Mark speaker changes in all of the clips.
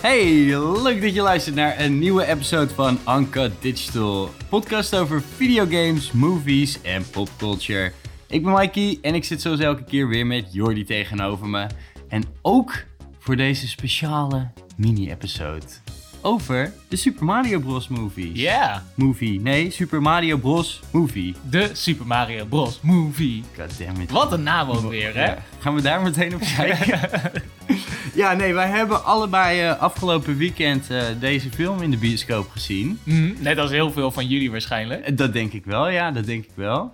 Speaker 1: Hey, leuk dat je luistert naar een nieuwe episode van Anka Digital. Podcast over videogames, movies en popculture. Ik ben Mikey en ik zit zoals elke keer weer met Jordi tegenover me. En ook voor deze speciale mini-episode over de Super Mario Bros. movie.
Speaker 2: Ja,
Speaker 1: Movie, nee, Super Mario Bros. movie.
Speaker 2: de Super Mario Bros. Movie.
Speaker 1: Goddammit.
Speaker 2: Wat een naam ook weer, hè?
Speaker 1: Ja. Gaan we daar meteen op kijken? ja, nee, wij hebben allebei eh, afgelopen weekend eh, deze film in de bioscoop gezien.
Speaker 2: Mhm, Net als heel veel van jullie waarschijnlijk.
Speaker 1: Eh, Dat denk ik wel, ja, dat denk ik wel.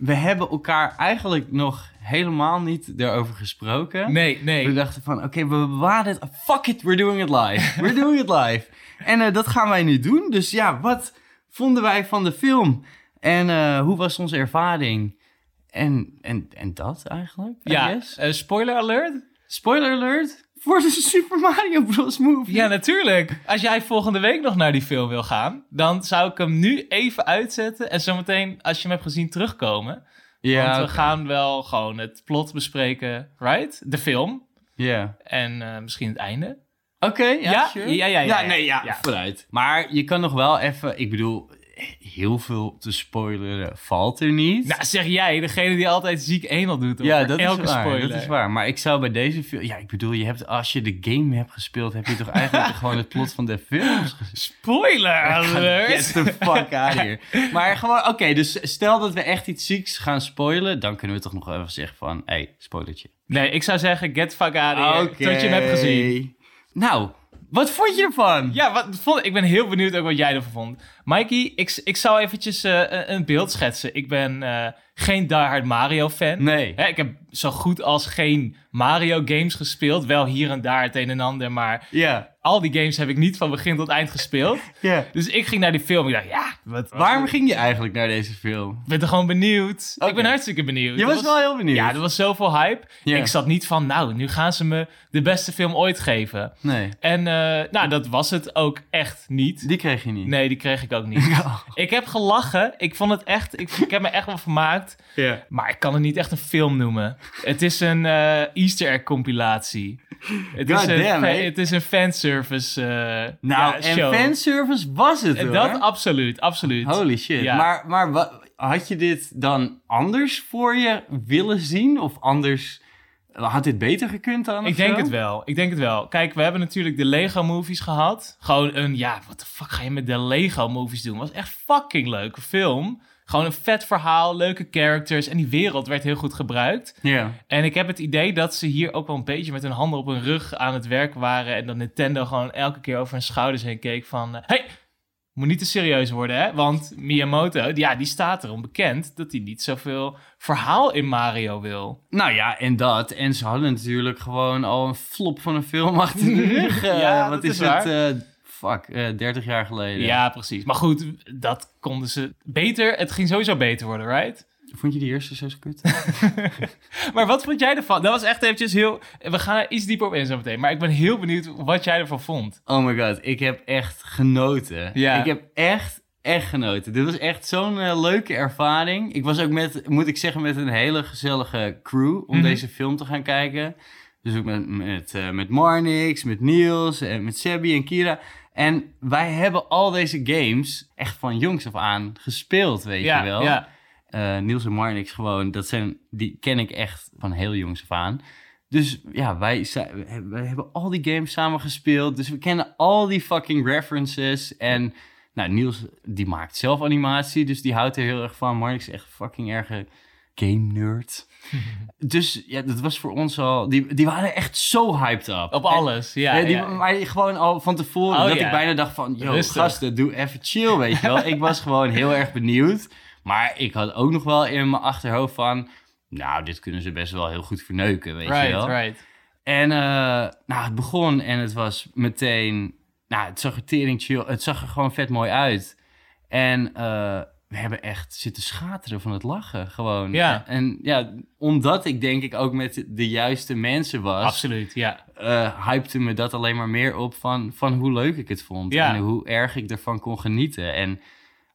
Speaker 1: We hebben elkaar eigenlijk nog helemaal niet daarover gesproken.
Speaker 2: Nee, nee.
Speaker 1: We dachten van, oké, we bewaren het. Fuck it, we're doing it live. We're doing it live. En eh, dat gaan wij nu doen. Dus ja, wat vonden wij van de film? En eh, hoe was onze ervaring? En, en, en dat eigenlijk, I
Speaker 2: Ja,
Speaker 1: guess.
Speaker 2: eh, spoiler alert?
Speaker 1: Spoiler alert voor de Super Mario Bros. movie.
Speaker 2: Ja, natuurlijk. Als jij volgende week nog naar die film wil gaan, dan zou ik hem nu even uitzetten en zometeen, als je hem hebt gezien, terugkomen.
Speaker 1: ja,
Speaker 2: Want we
Speaker 1: oké.
Speaker 2: gaan wel gewoon het plot bespreken, right? De film
Speaker 1: Ja.
Speaker 2: en eh, misschien het einde.
Speaker 1: Oké, ja,
Speaker 2: Ja,
Speaker 1: sure.
Speaker 2: ja, ja, ja, ja.
Speaker 1: nee, ja,
Speaker 2: Ja.
Speaker 1: vooruit. Maar je kan nog wel even, ik bedoel, heel veel te spoileren valt er niet.
Speaker 2: Nou, zeg jij, degene die altijd ziek enel doet
Speaker 1: ja,
Speaker 2: over
Speaker 1: dat
Speaker 2: elke
Speaker 1: is waar,
Speaker 2: spoiler.
Speaker 1: dat is waar. Maar ik zou bij deze film, ja, ik bedoel, je hebt, als je de game hebt gespeeld, heb je toch eigenlijk gewoon het plot van de films gezien?
Speaker 2: Spoiler alert!
Speaker 1: Get the fuck out here. Maar gewoon, oké, dus stel dat we echt iets zieks gaan spoilen, dan kunnen we toch nog wel even zeggen van, hé, hey, spoilertje.
Speaker 2: Nee, ik zou zeggen, get the fuck out of here,
Speaker 1: Oké.
Speaker 2: tot je hem hebt gezien.
Speaker 1: Nou, wat vond je ervan?
Speaker 2: Ja, wat, vond, ik ben heel benieuwd ook wat jij ervan vond. Mikey, ik, ik zou eventjes eh, een- een beeld schetsen. Ik ben eh, geen diehard Mario-fan.
Speaker 1: Nee.
Speaker 2: Hè, ik heb zo goed als geen Mario-games gespeeld. Wel hier en daar het een en ander, maar
Speaker 1: Ja.
Speaker 2: al die games heb ik niet van begin tot eind gespeeld.
Speaker 1: ja.
Speaker 2: Dus ik ging naar die film en ik dacht, ja,
Speaker 1: Wat, waarom ging je eigenlijk naar deze film?
Speaker 2: ik ben er gewoon benieuwd.
Speaker 1: Oké.
Speaker 2: Ik ben hartstikke benieuwd.
Speaker 1: Je
Speaker 2: Er
Speaker 1: was wel heel benieuwd.
Speaker 2: Ja, er was zoveel hype.
Speaker 1: Ja.
Speaker 2: Ik zat niet van, nou, nu gaan ze me de beste film ooit geven.
Speaker 1: Nee,
Speaker 2: En eh, nou, dat was het ook echt niet.
Speaker 1: die kreeg je niet. Oh.
Speaker 2: Nee, die kreeg ik ook niet.
Speaker 1: Ja.
Speaker 2: Ik heb gelachen. Ik vond het echt. Ik, ik heb me echt wel vermaakt.
Speaker 1: Ja.
Speaker 2: Maar ik kan het niet echt een film noemen. Het is een eh, Easter egg compilatie. Het is, een,
Speaker 1: Goddamn,
Speaker 2: fa-
Speaker 1: hè?
Speaker 2: het is een fanservice. eh,
Speaker 1: Nou,
Speaker 2: ja,
Speaker 1: en
Speaker 2: show.
Speaker 1: fanservice was het hoor.
Speaker 2: Dat absoluut, absoluut.
Speaker 1: Holy shit.
Speaker 2: Ja.
Speaker 1: Maar, maar wa- had je dit dan anders voor je willen zien? Of anders... Had dit beter gekund dan? of
Speaker 2: ik denk
Speaker 1: zo?
Speaker 2: het wel. Ik denk het wel. Kijk, we hebben natuurlijk de Lego movies gehad. Gewoon een, ja, wat de fuck ga je met de Lego movies doen? Was echt fucking leuke film. Gewoon een vet verhaal, leuke characters en die wereld werd heel goed gebruikt.
Speaker 1: Ja.
Speaker 2: En ik heb het idee dat ze hier ook wel een beetje met hun handen op hun rug aan het werk waren. En dat Nintendo gewoon elke keer over hun schouders heen keek van... Hé, hey, moet niet te serieus worden, hè? Want Miyamoto, ja, die staat erom bekend dat hij niet zoveel verhaal in Mario wil.
Speaker 1: Nou ja, en dat. En ze hadden natuurlijk gewoon al een flop van een film achter de rug. Eh,
Speaker 2: Ja,
Speaker 1: wat
Speaker 2: dat
Speaker 1: is
Speaker 2: is waar.
Speaker 1: het? eh, fuck, eh 30 jaar geleden.
Speaker 2: Ja, precies. Maar goed, dat konden ze beter. Het ging sowieso beter worden, right?
Speaker 1: Vond je die eerste zo kut?
Speaker 2: Maar wat vond jij ervan? Dat was echt eventjes heel... We gaan er iets dieper op in zo meteen. Maar ik ben heel benieuwd wat jij ervan vond.
Speaker 1: oh my god, ik heb echt genoten.
Speaker 2: Ja.
Speaker 1: Ik heb echt, echt genoten. Dit was echt zo'n eh, leuke ervaring. Ik was ook met, moet ik zeggen, met een hele gezellige crew om
Speaker 2: Mhm.
Speaker 1: deze film te gaan kijken. Dus ook met, met, eh, met Marnix, met Niels, en met Sebi en Kira. En wij hebben al deze games echt van jongs af aan gespeeld, weet
Speaker 2: ja,
Speaker 1: je wel.
Speaker 2: ja.
Speaker 1: eh Niels en Marnix gewoon, dat zijn, die ken ik echt van heel jongs af aan. Dus ja, wij, zijn- we hebben- we hebben al die games samen gespeeld. Dus we kennen al die fucking references. En nou, Niels, die maakt zelf animatie, dus die houdt er heel erg van. Marnix is echt een fucking erge game nerd. dus ja, dat was voor ons al... Die, die waren echt zo hyped up.
Speaker 2: Op alles, ja.
Speaker 1: Ja, die,
Speaker 2: ja.
Speaker 1: Maar gewoon al van tevoren,
Speaker 2: Oh,
Speaker 1: dat
Speaker 2: ja.
Speaker 1: ik bijna dacht van... Yo,
Speaker 2: Rustig.
Speaker 1: gasten, doe even chill, weet je wel. ik was gewoon heel erg benieuwd. Maar ik had ook nog wel in mijn achterhoofd van... Nou, dit kunnen ze best wel heel goed verneuken, weet je
Speaker 2: right,
Speaker 1: wel.
Speaker 2: right.
Speaker 1: En eh, nou, het begon en het was meteen... Nou, het zag er tering chill... Het zag er gewoon vet mooi uit. En eh, we hebben echt zitten schateren van het lachen, gewoon.
Speaker 2: Ja.
Speaker 1: En ja, omdat ik denk ik ook met de juiste mensen was
Speaker 2: Absoluut, ja.
Speaker 1: eh hypte me dat alleen maar meer op van, van hoe leuk ik het vond.
Speaker 2: Ja.
Speaker 1: En hoe erg ik ervan kon genieten. En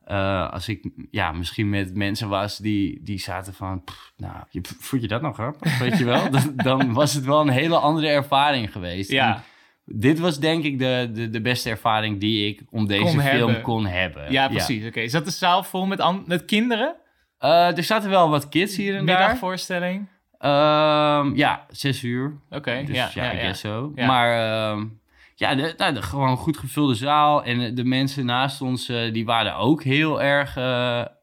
Speaker 1: eh, als ik ja, misschien met mensen was die, die zaten van... "Pff, nou, je, vond je dat nog grappig? Weet je wel? Dan, dan was het wel een hele andere ervaring geweest.
Speaker 2: Ja.
Speaker 1: En Dit was denk ik de, de, de beste ervaring die ik om deze
Speaker 2: Kon
Speaker 1: film
Speaker 2: hebben.
Speaker 1: kon hebben.
Speaker 2: Ja, precies. Oké, is dat de zaal vol met, an- met kinderen?
Speaker 1: Eh, er zaten wel wat kids hier en daar.
Speaker 2: Middagvoorstelling?
Speaker 1: Ehm, ja, zes uur.
Speaker 2: Oké,
Speaker 1: Dus
Speaker 2: ja,
Speaker 1: ja,
Speaker 2: ja,
Speaker 1: I
Speaker 2: ja.
Speaker 1: guess so.
Speaker 2: Ja.
Speaker 1: Maar ehm, ja, de, nou, de- gewoon een goed gevulde zaal. En eh, de mensen naast ons, eh, die waren ook heel erg... eh,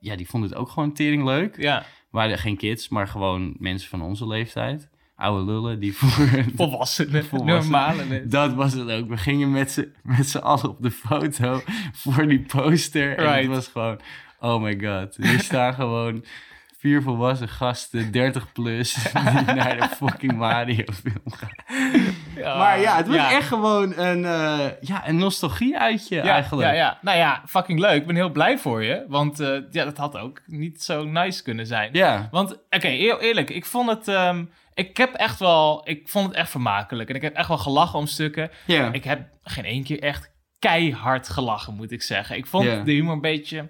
Speaker 1: ja, die vonden het ook gewoon tering leuk.
Speaker 2: Ja,
Speaker 1: Waren geen kids, maar gewoon mensen van onze leeftijd. Oude lullen die voor...
Speaker 2: volwassenen,
Speaker 1: Volwassenen.
Speaker 2: normale mensen.
Speaker 1: Dat was het ook. We gingen met z'n, met z'n allen op de foto voor die poster. En het
Speaker 2: Right.
Speaker 1: was gewoon... Oh my god. Hier staan gewoon vier volwassen gasten, 30 plus... die naar de fucking Mario film gaan. Maar
Speaker 2: Ah,
Speaker 1: ja, het was echt gewoon een, eh, ja, een nostalgie-uitje
Speaker 2: ja,
Speaker 1: eigenlijk.
Speaker 2: Ja, ja. Nou ja, fucking leuk. Ik ben heel blij voor je. Want eh, ja, dat had ook niet zo nice kunnen zijn.
Speaker 1: Ja.
Speaker 2: Want, oké, heel eerlijk, ik vond het... ehm, ik heb echt wel... Ik vond het echt vermakelijk. En ik heb echt wel gelachen om stukken.
Speaker 1: Ja.
Speaker 2: Ik heb geen één keer echt keihard gelachen, moet ik zeggen. Ik vond
Speaker 1: Ja.
Speaker 2: de humor een beetje...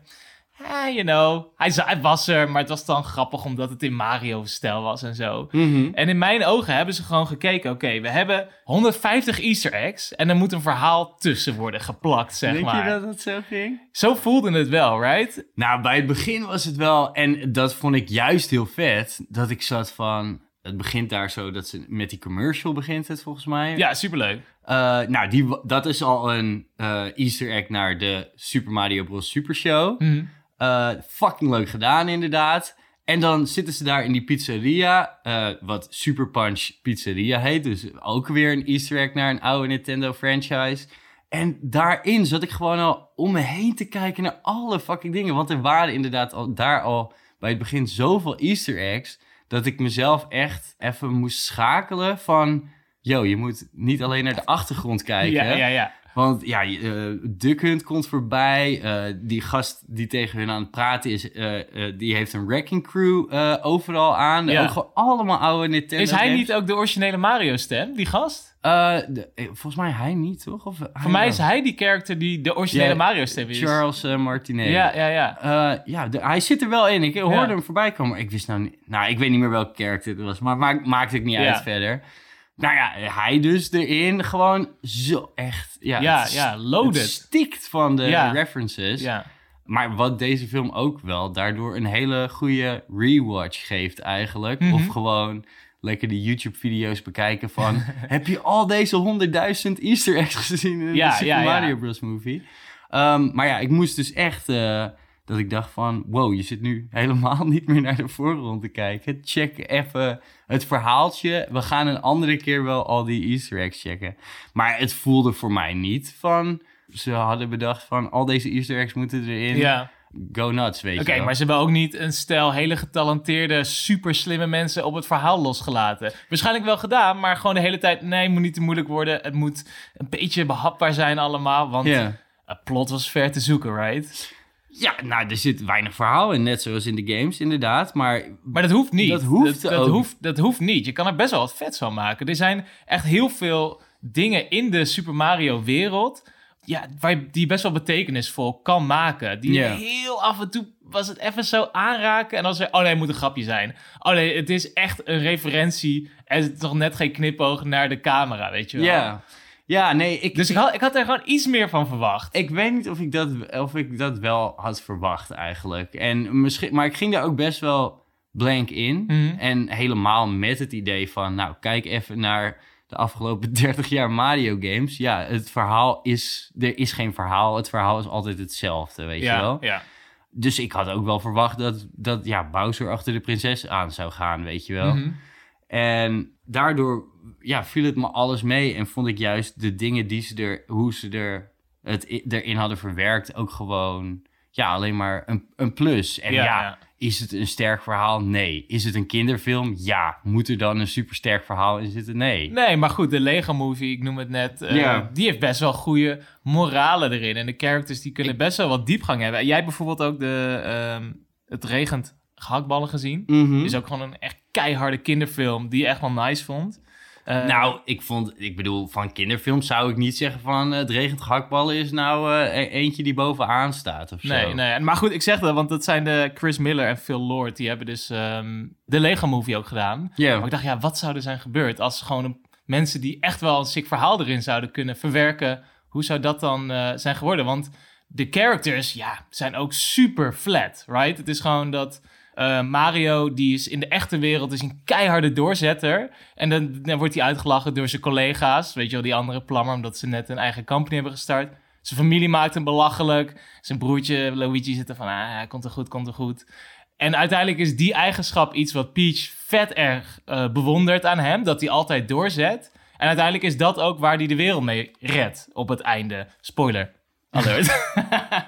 Speaker 2: eh, you know, hij, za- hij was er, maar het was dan grappig omdat het in Mario-stijl was en zo.
Speaker 1: Mhm.
Speaker 2: En in mijn ogen hebben ze gewoon gekeken, oké, we hebben 150 easter eggs en er moet een verhaal tussen worden geplakt, zeg
Speaker 1: Denk
Speaker 2: maar.
Speaker 1: je dat dat zo ging?
Speaker 2: Zo voelde het wel, right?
Speaker 1: Nou, bij het begin was het wel... En dat vond ik juist heel vet. Dat ik zat van... Het begint daar zo dat ze... Met die commercial begint het volgens mij.
Speaker 2: Ja, superleuk.
Speaker 1: Eh, nou, die, wa- dat is al een eh, easter egg naar de Super Mario Bros. Super Show.
Speaker 2: Mhm.
Speaker 1: Eh, fucking leuk gedaan, inderdaad. En dan zitten ze daar in die pizzeria, eh, wat Super Punch Pizzeria heet. Dus ook weer een easter egg naar een oude Nintendo franchise. En daarin zat ik gewoon al om me heen te kijken naar alle fucking dingen. Want er waren inderdaad al, daar al bij het begin zoveel easter eggs... dat ik mezelf echt even moest schakelen van... Yo, je moet niet alleen naar de achtergrond kijken.
Speaker 2: ja, ja, ja.
Speaker 1: Want ja, eh Duck Hunt komt voorbij. eh, die gast die tegen hun aan het praten is, eh, eh, die heeft een wrecking crew eh, overal aan.
Speaker 2: Ja.
Speaker 1: Ook gewoon allemaal oude Nintendo
Speaker 2: Is hij
Speaker 1: games.
Speaker 2: niet ook de originele Mario-stem, die gast?
Speaker 1: Eh, de- eh, volgens mij hij niet, toch? Of,
Speaker 2: Voor mij is hij die character die de originele
Speaker 1: Ja,
Speaker 2: Mario-stem is.
Speaker 1: Charles eh, Martinet.
Speaker 2: Ja, ja, ja.
Speaker 1: Eh, ja, de- hij zit er wel in. Ik hoorde
Speaker 2: Ja.
Speaker 1: hem voorbij komen, maar ik wist nou niet... Nou, ik weet niet meer welke karakter het was, maar maakt, maakt het niet
Speaker 2: Ja.
Speaker 1: uit verder. Nou ja, hij dus erin. Gewoon zo echt... Ja,
Speaker 2: Ja,
Speaker 1: het
Speaker 2: ja,
Speaker 1: Het
Speaker 2: loaded.
Speaker 1: stikt van de
Speaker 2: Ja.
Speaker 1: references.
Speaker 2: Ja.
Speaker 1: Maar wat deze film ook wel daardoor een hele goede rewatch geeft eigenlijk.
Speaker 2: Mhm.
Speaker 1: Of gewoon lekker die YouTube-video's bekijken van... heb je al deze honderdduizend easter eggs gezien in
Speaker 2: Ja,
Speaker 1: de Super
Speaker 2: ja, ja.
Speaker 1: Mario Bros. movie? Ehm, maar ja, ik moest dus echt... eh, dat ik dacht van, wow, je zit nu helemaal niet meer naar de voorgrond te kijken. Check even het verhaaltje. We gaan een andere keer wel al die easter eggs checken. Maar het voelde voor mij niet van... Ze hadden bedacht van, al deze easter eggs moeten erin
Speaker 2: ja.
Speaker 1: go nuts, weet
Speaker 2: Oké,
Speaker 1: je wel.
Speaker 2: maar ze hebben ook niet een stel hele getalenteerde, super slimme mensen op het verhaal losgelaten. Waarschijnlijk wel gedaan, maar gewoon de hele tijd, nee, het moet niet te moeilijk worden. Het moet een beetje behapbaar zijn allemaal, want
Speaker 1: Ja.
Speaker 2: het plot was ver te zoeken, right?
Speaker 1: ja, nou, er zit weinig verhaal in, net zoals in de games, inderdaad. Maar
Speaker 2: Maar dat hoeft niet.
Speaker 1: Dat hoeft
Speaker 2: dat,
Speaker 1: ook.
Speaker 2: hoeft, dat hoeft niet. Je kan er best wel wat vets van maken. Er zijn echt heel veel dingen in de Super Mario wereld... Ja, waar je- die best wel betekenisvol kan maken. Die
Speaker 1: Ja.
Speaker 2: heel af en toe was het even zo aanraken. En dan zei oh nee, het moet een grapje zijn. Oh nee, het is echt een referentie. En het is toch net geen knipoog naar de camera, weet je wel.
Speaker 1: ja. Ja, nee, ik,
Speaker 2: Dus ik had, ik had er gewoon iets meer van verwacht.
Speaker 1: ik weet niet of ik, dat, of ik dat wel had verwacht eigenlijk. En misschien, maar ik ging daar ook best wel blank in.
Speaker 2: Mhm.
Speaker 1: En helemaal met het idee van, nou, kijk even naar de afgelopen 30 jaar Mario games. Ja, het verhaal is, er is geen verhaal. Het verhaal is altijd hetzelfde, weet je wel.
Speaker 2: Ja, ja.
Speaker 1: Dus ik had ook wel verwacht dat, dat ja, Bowser achter de prinses aan zou gaan, weet je wel.
Speaker 2: Mhm.
Speaker 1: En daardoor ja, viel het me alles mee en vond ik juist de dingen die ze er, hoe ze er, het i- erin hadden verwerkt, ook gewoon ja, alleen maar een, een plus. En
Speaker 2: Ja,
Speaker 1: ja,
Speaker 2: ja.
Speaker 1: is het een sterk verhaal? Nee. Is het een kinderfilm? Ja. Moet er dan een supersterk verhaal in zitten? Nee.
Speaker 2: Nee, maar goed, de Lego Movie, ik noem het net, eh,
Speaker 1: Ja.
Speaker 2: die heeft best wel goede moralen erin. En de characters die kunnen best wel wat diepgang hebben. En jij hebt bijvoorbeeld ook de, ehm, het regent gehaktballen gezien.
Speaker 1: Mhm.
Speaker 2: Is ook gewoon een echt keiharde kinderfilm die je echt wel nice vond. Eh,
Speaker 1: Nou, ik vond, ik bedoel, van kinderfilms zou ik niet zeggen van eh, het regent gehaktballen is nou eh, e- eentje die bovenaan staat of zo.
Speaker 2: Nee, nee, maar goed, ik zeg dat, want dat zijn de Chris Miller en Phil Lord. Die hebben dus ehm, de Lego Movie ook gedaan.
Speaker 1: Ja.
Speaker 2: Maar ik dacht, ja, wat zou er zijn gebeurd als gewoon een mensen die echt wel een sick verhaal erin zouden kunnen verwerken, hoe zou dat dan eh, zijn geworden? Want de characters, ja, zijn ook super flat, right? Het is gewoon dat eh, Mario, die is in de echte wereld is een keiharde doorzetter. En dan, dan wordt hij uitgelachen door zijn collega's, weet je wel, die andere plammer, omdat ze net een eigen company hebben gestart. Zijn familie maakt hem belachelijk. Zijn broertje Luigi zit er van, ah, hij komt er goed, komt er goed. En uiteindelijk is die eigenschap iets wat Peach vet erg eh, bewondert aan hem. Dat hij altijd doorzet. En uiteindelijk is dat ook waar hij de wereld mee redt op het einde. Spoiler alert.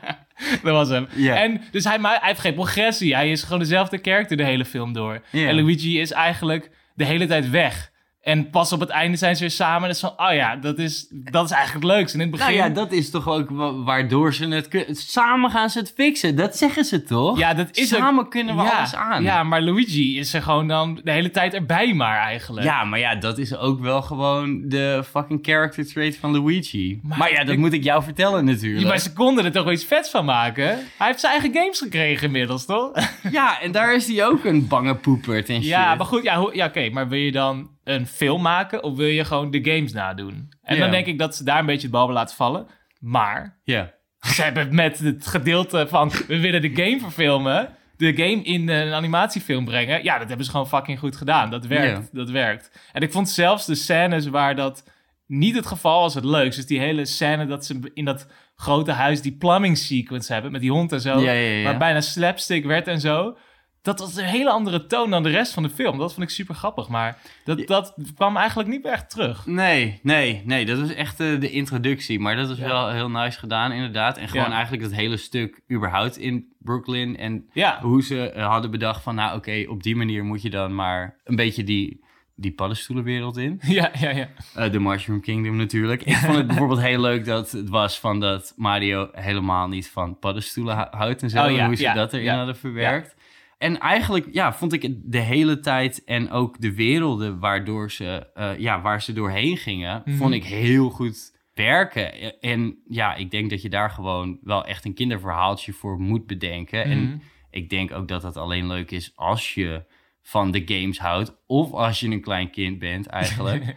Speaker 2: dat was hem.
Speaker 1: Ja.
Speaker 2: En dus hij, ma- hij heeft geen progressie. Hij is gewoon dezelfde karakter de hele film door.
Speaker 1: Ja.
Speaker 2: En Luigi is eigenlijk de hele tijd weg. En pas op het einde zijn ze weer samen. En dat is van, oh ja, dat is, dat is eigenlijk het leukste. En in het
Speaker 1: Nou
Speaker 2: begin...
Speaker 1: ja, dat is toch ook wa- waardoor ze het kun- Samen gaan ze het fixen, dat zeggen ze toch?
Speaker 2: Ja, dat is ook-
Speaker 1: Samen kunnen we
Speaker 2: ja,
Speaker 1: alles aan.
Speaker 2: Ja, maar Luigi is er gewoon dan de hele tijd erbij maar eigenlijk.
Speaker 1: Ja, maar ja, dat is ook wel gewoon de fucking character trait van Luigi. Maar,
Speaker 2: Maar
Speaker 1: ja, dat
Speaker 2: ik-
Speaker 1: moet ik jou vertellen
Speaker 2: Ja, maar
Speaker 1: natuurlijk.
Speaker 2: ze konden er toch wel iets vets van maken? Hij heeft zijn eigen games gekregen inmiddels, toch?
Speaker 1: Ja, en daar is hij ook een bange poepert en shit.
Speaker 2: ja, maar goed, ja, hoe- ja oké. maar wil je dan een film maken of wil je gewoon de games nadoen? En
Speaker 1: Ja.
Speaker 2: dan denk ik dat ze daar een beetje het bal laten vallen. Maar
Speaker 1: Ja.
Speaker 2: ze hebben met het gedeelte van we willen de game verfilmen, de game in eh, een animatiefilm brengen. Ja, dat hebben ze gewoon fucking goed gedaan. Dat werkt, dat werkt. En ik vond zelfs de scènes waar dat niet het geval was het leukst. Dus die hele scène dat ze in dat grote huis die plumbing sequence hebben met die hond en zo,
Speaker 1: Ja, ja, ja.
Speaker 2: waar bijna slapstick werd en zo. Dat was een hele andere toon dan de rest van de film. Dat vond ik super grappig, maar dat,
Speaker 1: Ja.
Speaker 2: dat kwam eigenlijk niet meer echt terug.
Speaker 1: Nee, nee, nee. Dat was echt eh, de introductie. Maar dat is
Speaker 2: Ja.
Speaker 1: wel heel nice gedaan, inderdaad. En gewoon
Speaker 2: Ja.
Speaker 1: eigenlijk dat hele stuk überhaupt in Brooklyn. En
Speaker 2: Ja,
Speaker 1: hoe ze eh, hadden bedacht van, nou oké, op die manier moet je dan maar een beetje die, die paddenstoelenwereld in.
Speaker 2: ja, ja, ja.
Speaker 1: Eh, De Mushroom Kingdom natuurlijk. Ik vond het bijvoorbeeld heel leuk dat het was van dat Mario helemaal niet van paddenstoelen hou- houdt en zo.
Speaker 2: Oh ja,
Speaker 1: en hoe ze
Speaker 2: ja,
Speaker 1: dat erin
Speaker 2: ja,
Speaker 1: hadden verwerkt. En eigenlijk ja, vond ik het de hele tijd en ook de werelden waardoor ze, eh, ja, waar ze doorheen gingen,
Speaker 2: Mhm.
Speaker 1: vond ik heel goed werken. Eh, En ja, ik denk dat je daar gewoon wel echt een kinderverhaaltje voor moet bedenken. En
Speaker 2: Mhm.
Speaker 1: ik denk ook dat dat alleen leuk is als je van de games houdt. Of als je een klein kind bent eigenlijk.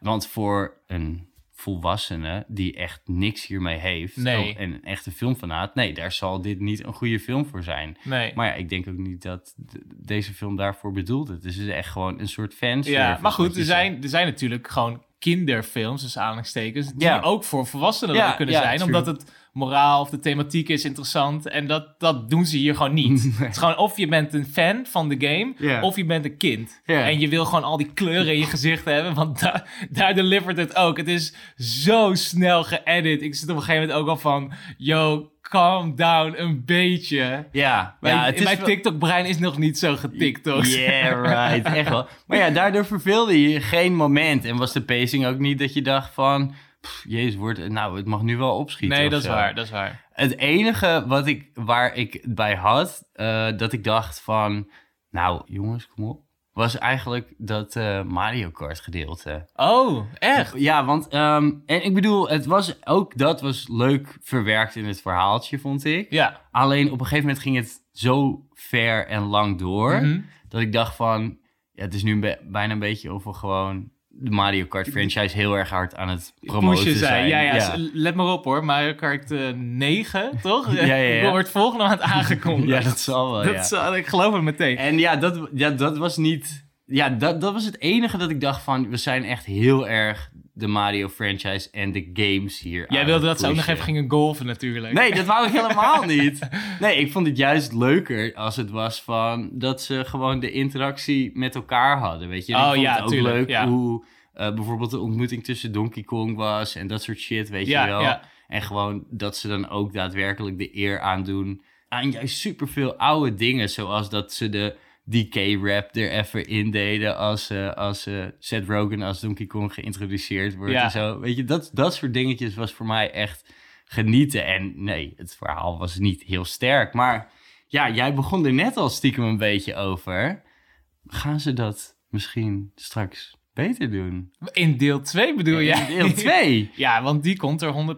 Speaker 1: Want voor een volwassene die echt niks hiermee heeft.
Speaker 2: Nee.
Speaker 1: ook- En een echte filmfanaat. Nee, daar zal dit niet een goede film voor zijn.
Speaker 2: Nee.
Speaker 1: Maar ja, ik denk ook niet dat d- deze film daarvoor bedoeld is. Dus het is echt gewoon een soort fanservice.
Speaker 2: Ja, maar
Speaker 1: wat
Speaker 2: goed,
Speaker 1: je
Speaker 2: er
Speaker 1: zegt.
Speaker 2: zijn, er zijn natuurlijk gewoon kinderfilms, dus aanhalingstekens, die
Speaker 1: Ja.
Speaker 2: ook voor volwassenen
Speaker 1: Ja,
Speaker 2: wel kunnen
Speaker 1: ja,
Speaker 2: zijn.
Speaker 1: true.
Speaker 2: Omdat het moraal of de thematiek is interessant en dat, dat doen ze hier gewoon niet. Het is gewoon of je bent een fan van de game,
Speaker 1: Ja.
Speaker 2: of je bent een kind.
Speaker 1: Ja.
Speaker 2: En je wil gewoon al die kleuren in je gezicht hebben, want da- daar delivert het ook. Het is zo snel geëdit. Ik zit op een gegeven moment ook al van, yo, calm down een beetje.
Speaker 1: Ja,
Speaker 2: Mijn,
Speaker 1: ja, het is
Speaker 2: mijn
Speaker 1: wel-
Speaker 2: TikTok-brein is nog niet zo getikt, toch?
Speaker 1: Yeah, right. Echt wel. Maar ja, daardoor verveelde je geen moment. En was de pacing ook niet dat je dacht van... pff, Jezus, wordt, nou, het mag nu wel opschieten.
Speaker 2: Nee,
Speaker 1: of
Speaker 2: dat is
Speaker 1: zo.
Speaker 2: waar, dat is waar.
Speaker 1: Het enige wat ik, waar ik het bij had, eh, dat ik dacht van... Nou, jongens, kom op. Was eigenlijk dat eh, Mario Kart gedeelte.
Speaker 2: Oh, echt?
Speaker 1: Ja, want ehm, en ik bedoel, het was ook dat was leuk verwerkt in het verhaaltje, vond ik.
Speaker 2: Ja.
Speaker 1: Alleen op een gegeven moment ging het zo ver en lang door.
Speaker 2: Mhm.
Speaker 1: Dat ik dacht van, ja, het is nu be- bijna een beetje of we gewoon de Mario Kart franchise heel erg hard aan het promoten
Speaker 2: Pushen
Speaker 1: zijn.
Speaker 2: zijn. Ja, ja, s- Let maar op hoor. Mario Kart eh, 9, toch?
Speaker 1: Ja, ja, ja.
Speaker 2: Wordt volgende maand aangekondigd.
Speaker 1: Ja, dat zal wel,
Speaker 2: Dat
Speaker 1: ja.
Speaker 2: zal- ik geloof het meteen.
Speaker 1: En ja, dat, ja, dat was niet... Ja, dat, dat was het enige dat ik dacht van, we zijn echt heel erg de Mario franchise en de games hier aan
Speaker 2: Jij wilde
Speaker 1: het
Speaker 2: dat ze ook nog
Speaker 1: pushen.
Speaker 2: even gingen golven natuurlijk.
Speaker 1: Nee, dat wou ik helemaal niet. Nee, ik vond het juist leuker als het was van dat ze gewoon de interactie met elkaar hadden. Weet je, En ik
Speaker 2: Oh,
Speaker 1: vond
Speaker 2: ja,
Speaker 1: het ook
Speaker 2: tuurlijk,
Speaker 1: leuk
Speaker 2: ja.
Speaker 1: hoe eh, bijvoorbeeld de ontmoeting tussen Donkey Kong was en dat soort shit, weet
Speaker 2: Ja,
Speaker 1: je wel.
Speaker 2: ja.
Speaker 1: En gewoon dat ze dan ook daadwerkelijk de eer aandoen aan juist superveel oude dingen, zoals dat ze de DK-rap er even in deden als, eh als eh, Seth Rogen als Donkey Kong geïntroduceerd wordt
Speaker 2: Ja.
Speaker 1: en zo. Weet je, dat, dat soort dingetjes was voor mij echt genieten. En nee, het verhaal was niet heel sterk. Maar ja, jij begon er net al stiekem een beetje over. Gaan ze dat misschien straks beter doen?
Speaker 2: In deel 2 bedoel je?
Speaker 1: In deel 2.
Speaker 2: Ja, want die komt er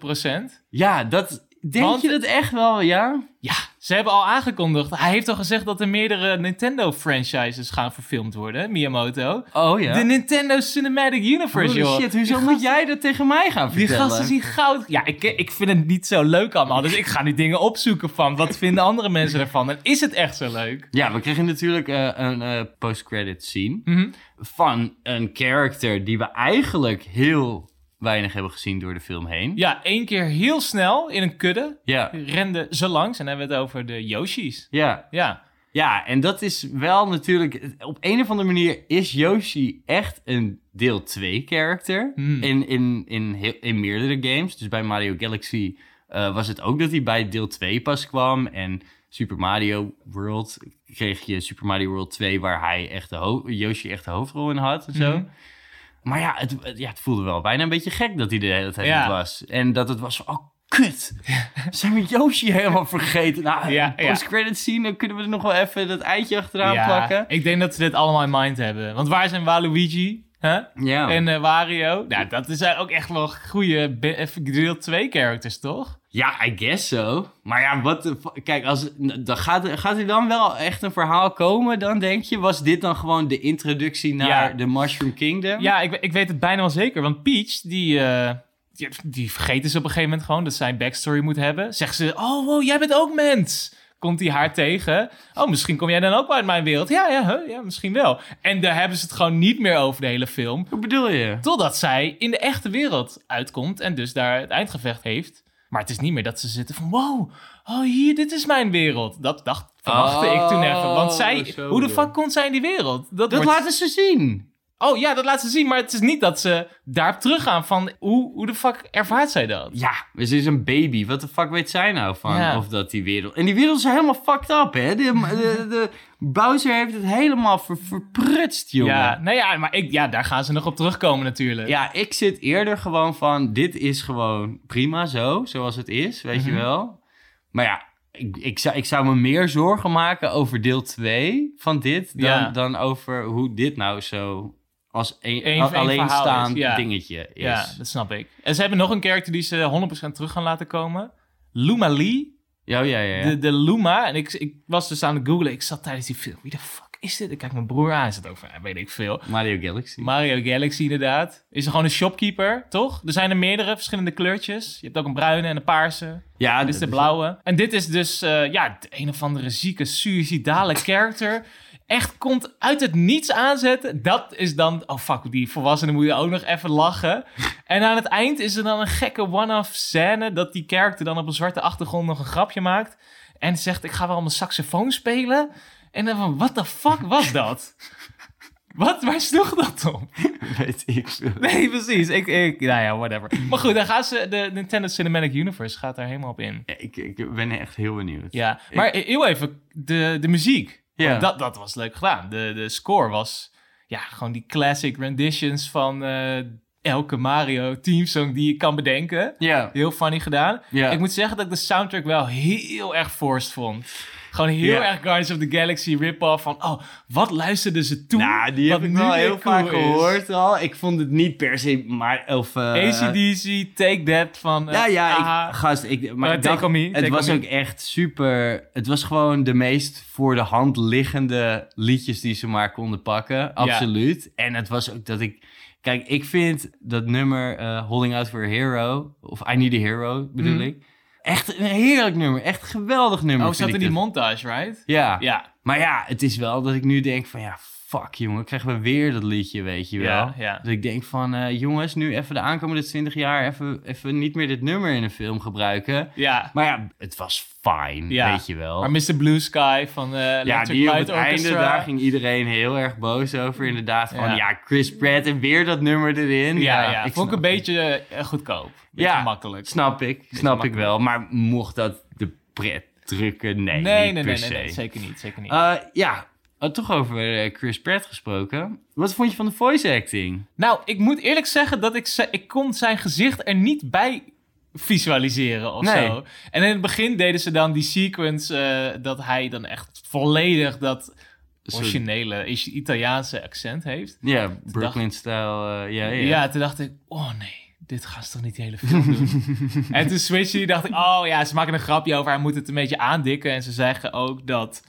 Speaker 2: 100%.
Speaker 1: Ja, dat Denk
Speaker 2: Want-
Speaker 1: je dat echt wel, ja?
Speaker 2: Ja, ze hebben al aangekondigd. Hij heeft al gezegd dat er meerdere Nintendo-franchises gaan verfilmd worden, Miyamoto.
Speaker 1: Oh ja.
Speaker 2: De Nintendo Cinematic Universe,
Speaker 1: Holy
Speaker 2: joh.
Speaker 1: shit, hoezo moet jij dat tegen mij gaan
Speaker 2: Die
Speaker 1: vertellen?
Speaker 2: gasten zien goud. Ja, ik, ik vind het niet zo leuk allemaal. Dus ik ga nu dingen opzoeken van wat vinden andere mensen ervan. En is het echt zo leuk?
Speaker 1: Ja, we kregen natuurlijk eh, een eh, post-credit scene
Speaker 2: Mhm.
Speaker 1: van een character die we eigenlijk heel weinig hebben gezien door de film heen.
Speaker 2: Ja, één keer heel snel in een kudde
Speaker 1: Ja,
Speaker 2: renden ze langs. En dan hebben we het over de Yoshi's.
Speaker 1: ja,
Speaker 2: Ja,
Speaker 1: ja. En dat is wel natuurlijk... Op een of andere manier is Yoshi echt een deel 2 character
Speaker 2: Hmm.
Speaker 1: in, in, in, heel- in meerdere games. Dus bij Mario Galaxy eh, was het ook dat hij bij deel 2 pas kwam. En Super Mario World kreeg je Super Mario World 2... waar hij echt de ho- Yoshi echt de hoofdrol in had en zo.
Speaker 2: Mhm.
Speaker 1: Maar ja het, het- ja, het voelde wel bijna een beetje gek dat hij de hele tijd
Speaker 2: Ja.
Speaker 1: niet was. En dat het was van, oh, kut. Zijn we Yoshi helemaal vergeten? Nou,
Speaker 2: Ja, ja.
Speaker 1: post-credit zien, dan kunnen we er nog wel even dat eitje achteraan
Speaker 2: ja.
Speaker 1: plakken.
Speaker 2: ik denk dat ze dit allemaal in mind hebben. Want waar zijn Waluigi? Huh?
Speaker 1: Ja.
Speaker 2: En eh, Wario? Nou, dat zijn ook echt wel goede deel 2 characters, toch?
Speaker 1: ja, I guess so. Maar ja, wat de fu- Kijk, als, dan gaat, gaat er dan wel echt een verhaal komen, dan denk je? Was dit dan gewoon de introductie naar
Speaker 2: Ja.
Speaker 1: de Mushroom Kingdom?
Speaker 2: Ja, ik, ik weet het bijna wel zeker. Want Peach, die, eh, die, die vergeten ze op een gegeven moment gewoon dat zij een backstory moet hebben. Zegt ze, oh wow, jij bent ook mens. Komt hij haar tegen. Oh, misschien kom jij dan ook wel uit mijn wereld. Ja, ja, huh, ja, misschien wel. En daar hebben ze het gewoon niet meer over de hele film.
Speaker 1: Hoe bedoel je?
Speaker 2: Totdat zij in de echte wereld uitkomt en dus daar het eindgevecht heeft. Maar het is niet meer dat ze zitten van, wow, oh hier, dit is mijn wereld. Dat dacht, verwachtte ik toen even. Want
Speaker 1: Oh,
Speaker 2: zij,
Speaker 1: zo
Speaker 2: hoe de
Speaker 1: bedoel je.
Speaker 2: fuck kon zij in die wereld?
Speaker 1: Dat
Speaker 2: wordt-
Speaker 1: laten ze zien.
Speaker 2: Oh ja, dat laat ze zien. Maar het is niet dat ze daarop teruggaan van hoe, hoe de fuck ervaart zij dat?
Speaker 1: Ja, ze is dus een baby. Wat de fuck weet zij nou van?
Speaker 2: Ja.
Speaker 1: Of dat die wereld... En die wereld is helemaal fucked up, hè? De, de, de- Bowser heeft het helemaal ver- verprutst, jongen.
Speaker 2: Ja,
Speaker 1: Ja.
Speaker 2: nou ja, maar ik, ja, daar gaan ze nog op terugkomen natuurlijk.
Speaker 1: ik zit eerder gewoon van... Dit is gewoon prima zo, zoals het is, weet
Speaker 2: Mhm.
Speaker 1: je wel? Maar ja, ik, ik, zou, ik zou me meer zorgen maken over deel 2 van dit... Dan,
Speaker 2: Ja.
Speaker 1: dan over hoe dit nou zo als een,
Speaker 2: Eén-
Speaker 1: a-
Speaker 2: één verhaal
Speaker 1: alleenstaand
Speaker 2: is, ja.
Speaker 1: dingetje is.
Speaker 2: Ja, dat snap ik. En ze hebben nog een character die ze 100% terug gaan laten komen. Luma Lee,
Speaker 1: Ja, oh, ja, ja. ja.
Speaker 2: de, de Luma. En ik, ik was dus aan het googlen. Ik zat tijdens die film. Wie de fuck is dit? Ik kijk mijn broer aan. Hij zit over, ja, weet ik veel.
Speaker 1: Mario Galaxy.
Speaker 2: Mario Galaxy inderdaad. Is er gewoon een shopkeeper, toch? Er zijn er meerdere verschillende kleurtjes. Je hebt ook een bruine en een paarse.
Speaker 1: ja,
Speaker 2: Dit is de
Speaker 1: dat
Speaker 2: blauwe. En dit is dus eh, ja, de een of andere zieke, suïcidale character. Echt komt uit het niets aanzetten. Dat is dan. Oh fuck, die volwassenen moet je ook nog even lachen. En aan het eind is er dan een gekke one-off scène. Dat die character dan op een zwarte achtergrond nog een grapje maakt. En zegt: Ik ga wel mijn saxofoon spelen. En dan van: What the fuck was dat? Wat? Waar sloeg dat op?
Speaker 1: Weet ik veel.
Speaker 2: Nee, precies. Ik, ik, nou ja, whatever. Maar goed, dan gaan ze. De Nintendo Cinematic Universe gaat daar helemaal op in.
Speaker 1: Ja, Ik, ik ben echt heel benieuwd.
Speaker 2: Ja, maar e- heel even, de, de muziek.
Speaker 1: Ja.
Speaker 2: Want Dat, dat was leuk gedaan. De, de score was ja, gewoon die classic renditions van eh, elke Mario teamsong die je kan bedenken.
Speaker 1: Ja.
Speaker 2: Heel funny gedaan.
Speaker 1: Ja.
Speaker 2: Ik moet zeggen dat ik de soundtrack wel heel erg forced vond. Gewoon heel
Speaker 1: Ja.
Speaker 2: erg Guardians of the Galaxy rip-off van, oh, wat luisterden ze toen?
Speaker 1: Nou, die heb
Speaker 2: wat
Speaker 1: ik
Speaker 2: nu
Speaker 1: wel
Speaker 2: weer
Speaker 1: heel
Speaker 2: cool
Speaker 1: vaak
Speaker 2: is?
Speaker 1: gehoord al. Ik vond het niet per se, maar... Of, eh,
Speaker 2: ACDC, Take That van... eh,
Speaker 1: Ja, ja,
Speaker 2: AHA.
Speaker 1: ik, gast, ik, maar
Speaker 2: Eh,
Speaker 1: ik
Speaker 2: Take
Speaker 1: dacht,
Speaker 2: On Me, Take
Speaker 1: het
Speaker 2: On
Speaker 1: was
Speaker 2: Me.
Speaker 1: ook echt super... Het was gewoon de meest voor de hand liggende liedjes die ze maar konden pakken. Absoluut. En het was ook dat ik... Kijk, ik vind dat nummer eh, Holding Out for a Hero, of I Need a Hero bedoel
Speaker 2: Mhm.
Speaker 1: ik, echt een heerlijk nummer. Echt een geweldig nummer.
Speaker 2: Oh, zat
Speaker 1: vind
Speaker 2: in
Speaker 1: ik
Speaker 2: die
Speaker 1: dat.
Speaker 2: montage, right?
Speaker 1: Ja.
Speaker 2: Ja,
Speaker 1: Maar ja, het is wel dat ik nu denk van ja, fuck jongen, krijgen we weer dat liedje, weet je wel.
Speaker 2: Ja, ja.
Speaker 1: Dus ik denk van eh, jongens, nu even de aankomende 20 jaar even, even niet meer dit nummer in een film gebruiken.
Speaker 2: ja.
Speaker 1: Maar ja, het was fijn,
Speaker 2: Ja.
Speaker 1: weet je wel.
Speaker 2: Maar Mr. Blue Sky van eh
Speaker 1: Oh. ja,
Speaker 2: Electric
Speaker 1: die op
Speaker 2: Light
Speaker 1: het einde,
Speaker 2: Orchestra.
Speaker 1: daar ging iedereen heel erg boos over. Inderdaad, van
Speaker 2: Ja.
Speaker 1: ja, Chris Pratt en weer dat nummer erin.
Speaker 2: ja, ja, vond ik
Speaker 1: snap
Speaker 2: een beetje eh, goedkoop. Beetje
Speaker 1: Ja.
Speaker 2: makkelijk.
Speaker 1: Snap ik, snap ik
Speaker 2: makkelijk.
Speaker 1: wel. Maar mocht dat de pret drukken? Nee,
Speaker 2: nee,
Speaker 1: niet per
Speaker 2: nee, nee, nee,
Speaker 1: se.
Speaker 2: nee, zeker niet, zeker niet.
Speaker 1: Eh, ja, Eh, toch over eh, Chris Pratt gesproken. Wat vond je van de voice acting?
Speaker 2: nou, ik moet eerlijk zeggen dat ik, ze- ik kon zijn gezicht er niet bij visualiseren of
Speaker 1: Nee.
Speaker 2: zo. En in het begin deden ze dan die sequence eh, dat hij dan echt volledig dat
Speaker 1: Soort-
Speaker 2: originele Is- Italiaanse accent heeft.
Speaker 1: Ja, Brooklyn-stijl. eh, ja,
Speaker 2: Ja,
Speaker 1: ja.
Speaker 2: toen dacht ik, oh nee. dit gaan ze toch niet de hele film doen? en toen switchen die dacht ik, oh ja, ze maken een grapje over, hij moet het een beetje aandikken. En ze zeggen ook dat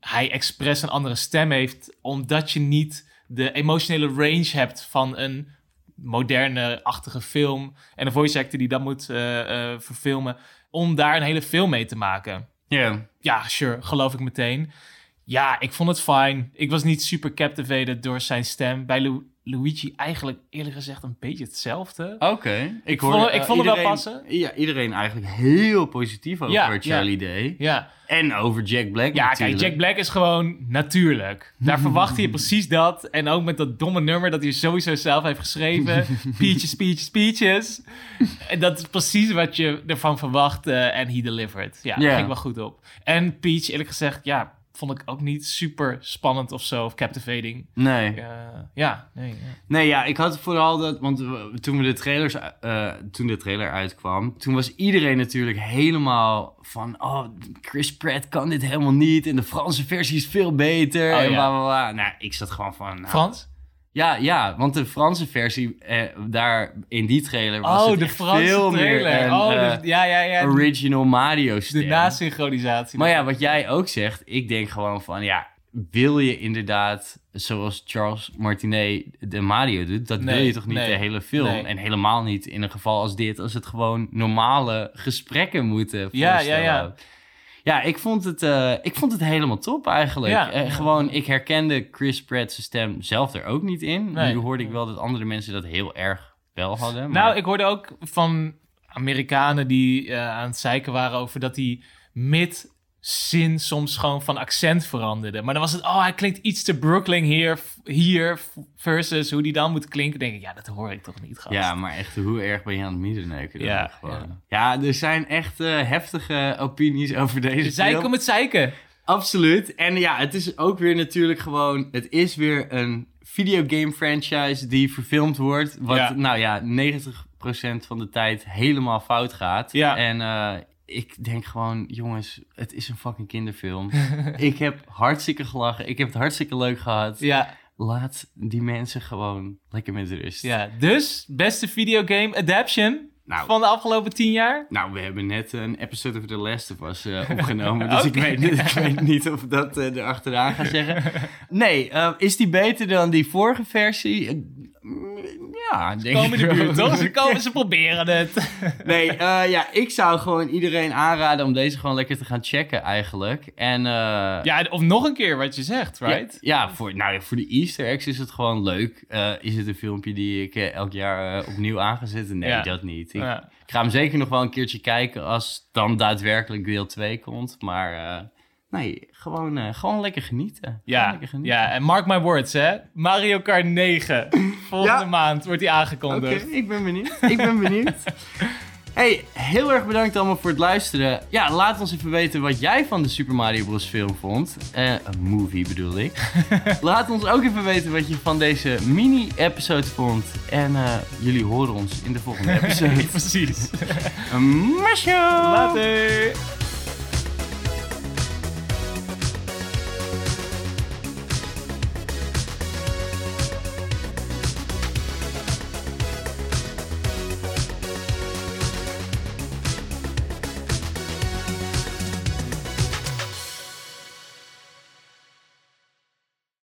Speaker 2: hij expres een andere stem heeft, omdat je niet de emotionele range hebt van een moderne-achtige film. En een voice actor die dat moet eh, eh, verfilmen, om daar een hele film mee te maken.
Speaker 1: Ja.
Speaker 2: Ja, sure, geloof ik meteen. Ja, ik vond het fijn. Ik was niet super captivated door zijn stem. Bij Lu- Luigi eigenlijk eerlijk gezegd een beetje hetzelfde.
Speaker 1: Oké.
Speaker 2: Ik vond- ik
Speaker 1: eh,
Speaker 2: vond het wel
Speaker 1: iedereen-
Speaker 2: passen.
Speaker 1: Ja, iedereen eigenlijk heel positief over
Speaker 2: Ja,
Speaker 1: Charlie Day.
Speaker 2: Ja,
Speaker 1: En over Jack Black
Speaker 2: ja kijk,
Speaker 1: natuurlijk.
Speaker 2: Jack Black is gewoon natuurlijk. Daar verwacht je precies dat. En ook met dat domme nummer dat hij sowieso zelf heeft geschreven. Peaches, peaches, peaches. En dat is precies wat je ervan verwacht. eh, En he delivered. Ja,
Speaker 1: Ja.
Speaker 2: daar ging wel goed op. En Peach, eerlijk gezegd, ja, vond ik ook niet super spannend of zo. Of captivating.
Speaker 1: Nee.
Speaker 2: Eh, ja, nee. ja.
Speaker 1: Nee, ja, ik had vooral dat... Want we- toen, we de trailers, eh, toen de trailer uitkwam... Toen was iedereen natuurlijk helemaal van... Oh, Chris Pratt kan dit helemaal niet. En de Franse versie is veel beter.
Speaker 2: Oh,
Speaker 1: en
Speaker 2: ja.
Speaker 1: bla, bla, bla. Nou, ik zat gewoon van... nou,
Speaker 2: Frans?
Speaker 1: Ja, ja, want de Franse versie eh, daar in die trailer was
Speaker 2: Oh,
Speaker 1: het
Speaker 2: de
Speaker 1: echt
Speaker 2: Franse
Speaker 1: veel meer
Speaker 2: trailer.
Speaker 1: een,
Speaker 2: oh,
Speaker 1: eh,
Speaker 2: de- ja, ja, ja. De,
Speaker 1: original Mario
Speaker 2: de
Speaker 1: stem.
Speaker 2: nasynchronisatie.
Speaker 1: Maar ja, wat jij ook zegt, ik denk gewoon van ja, wil je inderdaad zoals Charles Martinet de Mario doet, dat wil
Speaker 2: Nee,
Speaker 1: je toch niet
Speaker 2: nee,
Speaker 1: de hele film
Speaker 2: nee.
Speaker 1: en helemaal niet in een geval als dit, als het gewoon normale gesprekken moeten
Speaker 2: Ja,
Speaker 1: voorstellen.
Speaker 2: ja, ja.
Speaker 1: ook. Ja, ik vond het, eh, ik vond het helemaal top eigenlijk.
Speaker 2: Ja.
Speaker 1: Eh, gewoon, ik herkende Chris Pratt's stem zelf er ook niet in.
Speaker 2: Nee.
Speaker 1: Nu hoorde ik wel dat andere mensen dat heel erg wel hadden. maar-
Speaker 2: Nou, ik hoorde ook van Amerikanen die eh, aan het zeiken waren over dat hij mid zin soms gewoon van accent veranderde. Maar dan was het, oh, hij klinkt iets te Brooklyn hier, hier versus hoe die dan moet klinken. Dan denk ik, ja, dat hoor ik toch niet, gast.
Speaker 1: Ja, maar echt, hoe erg ben je aan het miederneuken? dan
Speaker 2: Ja,
Speaker 1: gewoon? ja. er zijn echt eh, heftige opinies over deze film.
Speaker 2: Zeiken met zeiken.
Speaker 1: Absoluut. En ja, het is ook weer natuurlijk gewoon... Het is weer een videogame franchise die verfilmd wordt. Wat,
Speaker 2: Ja.
Speaker 1: nou ja, 90% van de tijd helemaal fout gaat.
Speaker 2: Ja.
Speaker 1: En eh, ik denk gewoon, jongens, het is een fucking kinderfilm. ik heb hartstikke gelachen. Ik heb het hartstikke leuk gehad.
Speaker 2: Ja,
Speaker 1: Laat die mensen gewoon lekker met rust.
Speaker 2: ja. Dus, beste videogame adaption
Speaker 1: Nou,
Speaker 2: van de afgelopen tien jaar.
Speaker 1: Nou, we hebben net een episode over The Last of Us eh, opgenomen. Dus ik,
Speaker 2: Oké.
Speaker 1: weet, niet- ik weet niet of ik dat eh, erachteraan ga zeggen. Nee, eh, is die beter dan die vorige versie? Eh, mm, Ja, denk
Speaker 2: Komen in
Speaker 1: ik
Speaker 2: de
Speaker 1: wel.
Speaker 2: buurt, toch? Ze komen, ze proberen het.
Speaker 1: Nee, eh, ja, ik zou gewoon iedereen aanraden om deze gewoon lekker te gaan checken eigenlijk. En, eh,
Speaker 2: Ja, of nog een keer wat je zegt, right?
Speaker 1: Ja, ja, voor, nou ja, voor de Easter eggs is het gewoon leuk. Eh, is het een filmpje die ik eh, elk jaar eh, opnieuw aangezet? Nee,
Speaker 2: Ja.
Speaker 1: dat niet. Ik,
Speaker 2: Ja.
Speaker 1: ik ga hem zeker nog wel een keertje kijken als dan daadwerkelijk deel 2 komt. Maar eh, nee, gewoon, eh, gewoon lekker genieten. Gewoon
Speaker 2: Ja,
Speaker 1: lekker genieten.
Speaker 2: ja, en mark my words, hè. Mario Kart 9. Volgende
Speaker 1: Ja.
Speaker 2: maand wordt die
Speaker 1: Oké,
Speaker 2: aangekondigd.
Speaker 1: ik ben benieuwd. Ik ben benieuwd. Hey, heel erg bedankt allemaal voor het luisteren. Ja, laat ons even weten wat jij van de Super Mario Bros. film vond. Eh, een movie bedoel ik. laat ons ook even weten wat je van deze mini-episode vond. En eh, jullie horen ons in de volgende episode.
Speaker 2: Precies.
Speaker 1: Masjo!
Speaker 2: Later.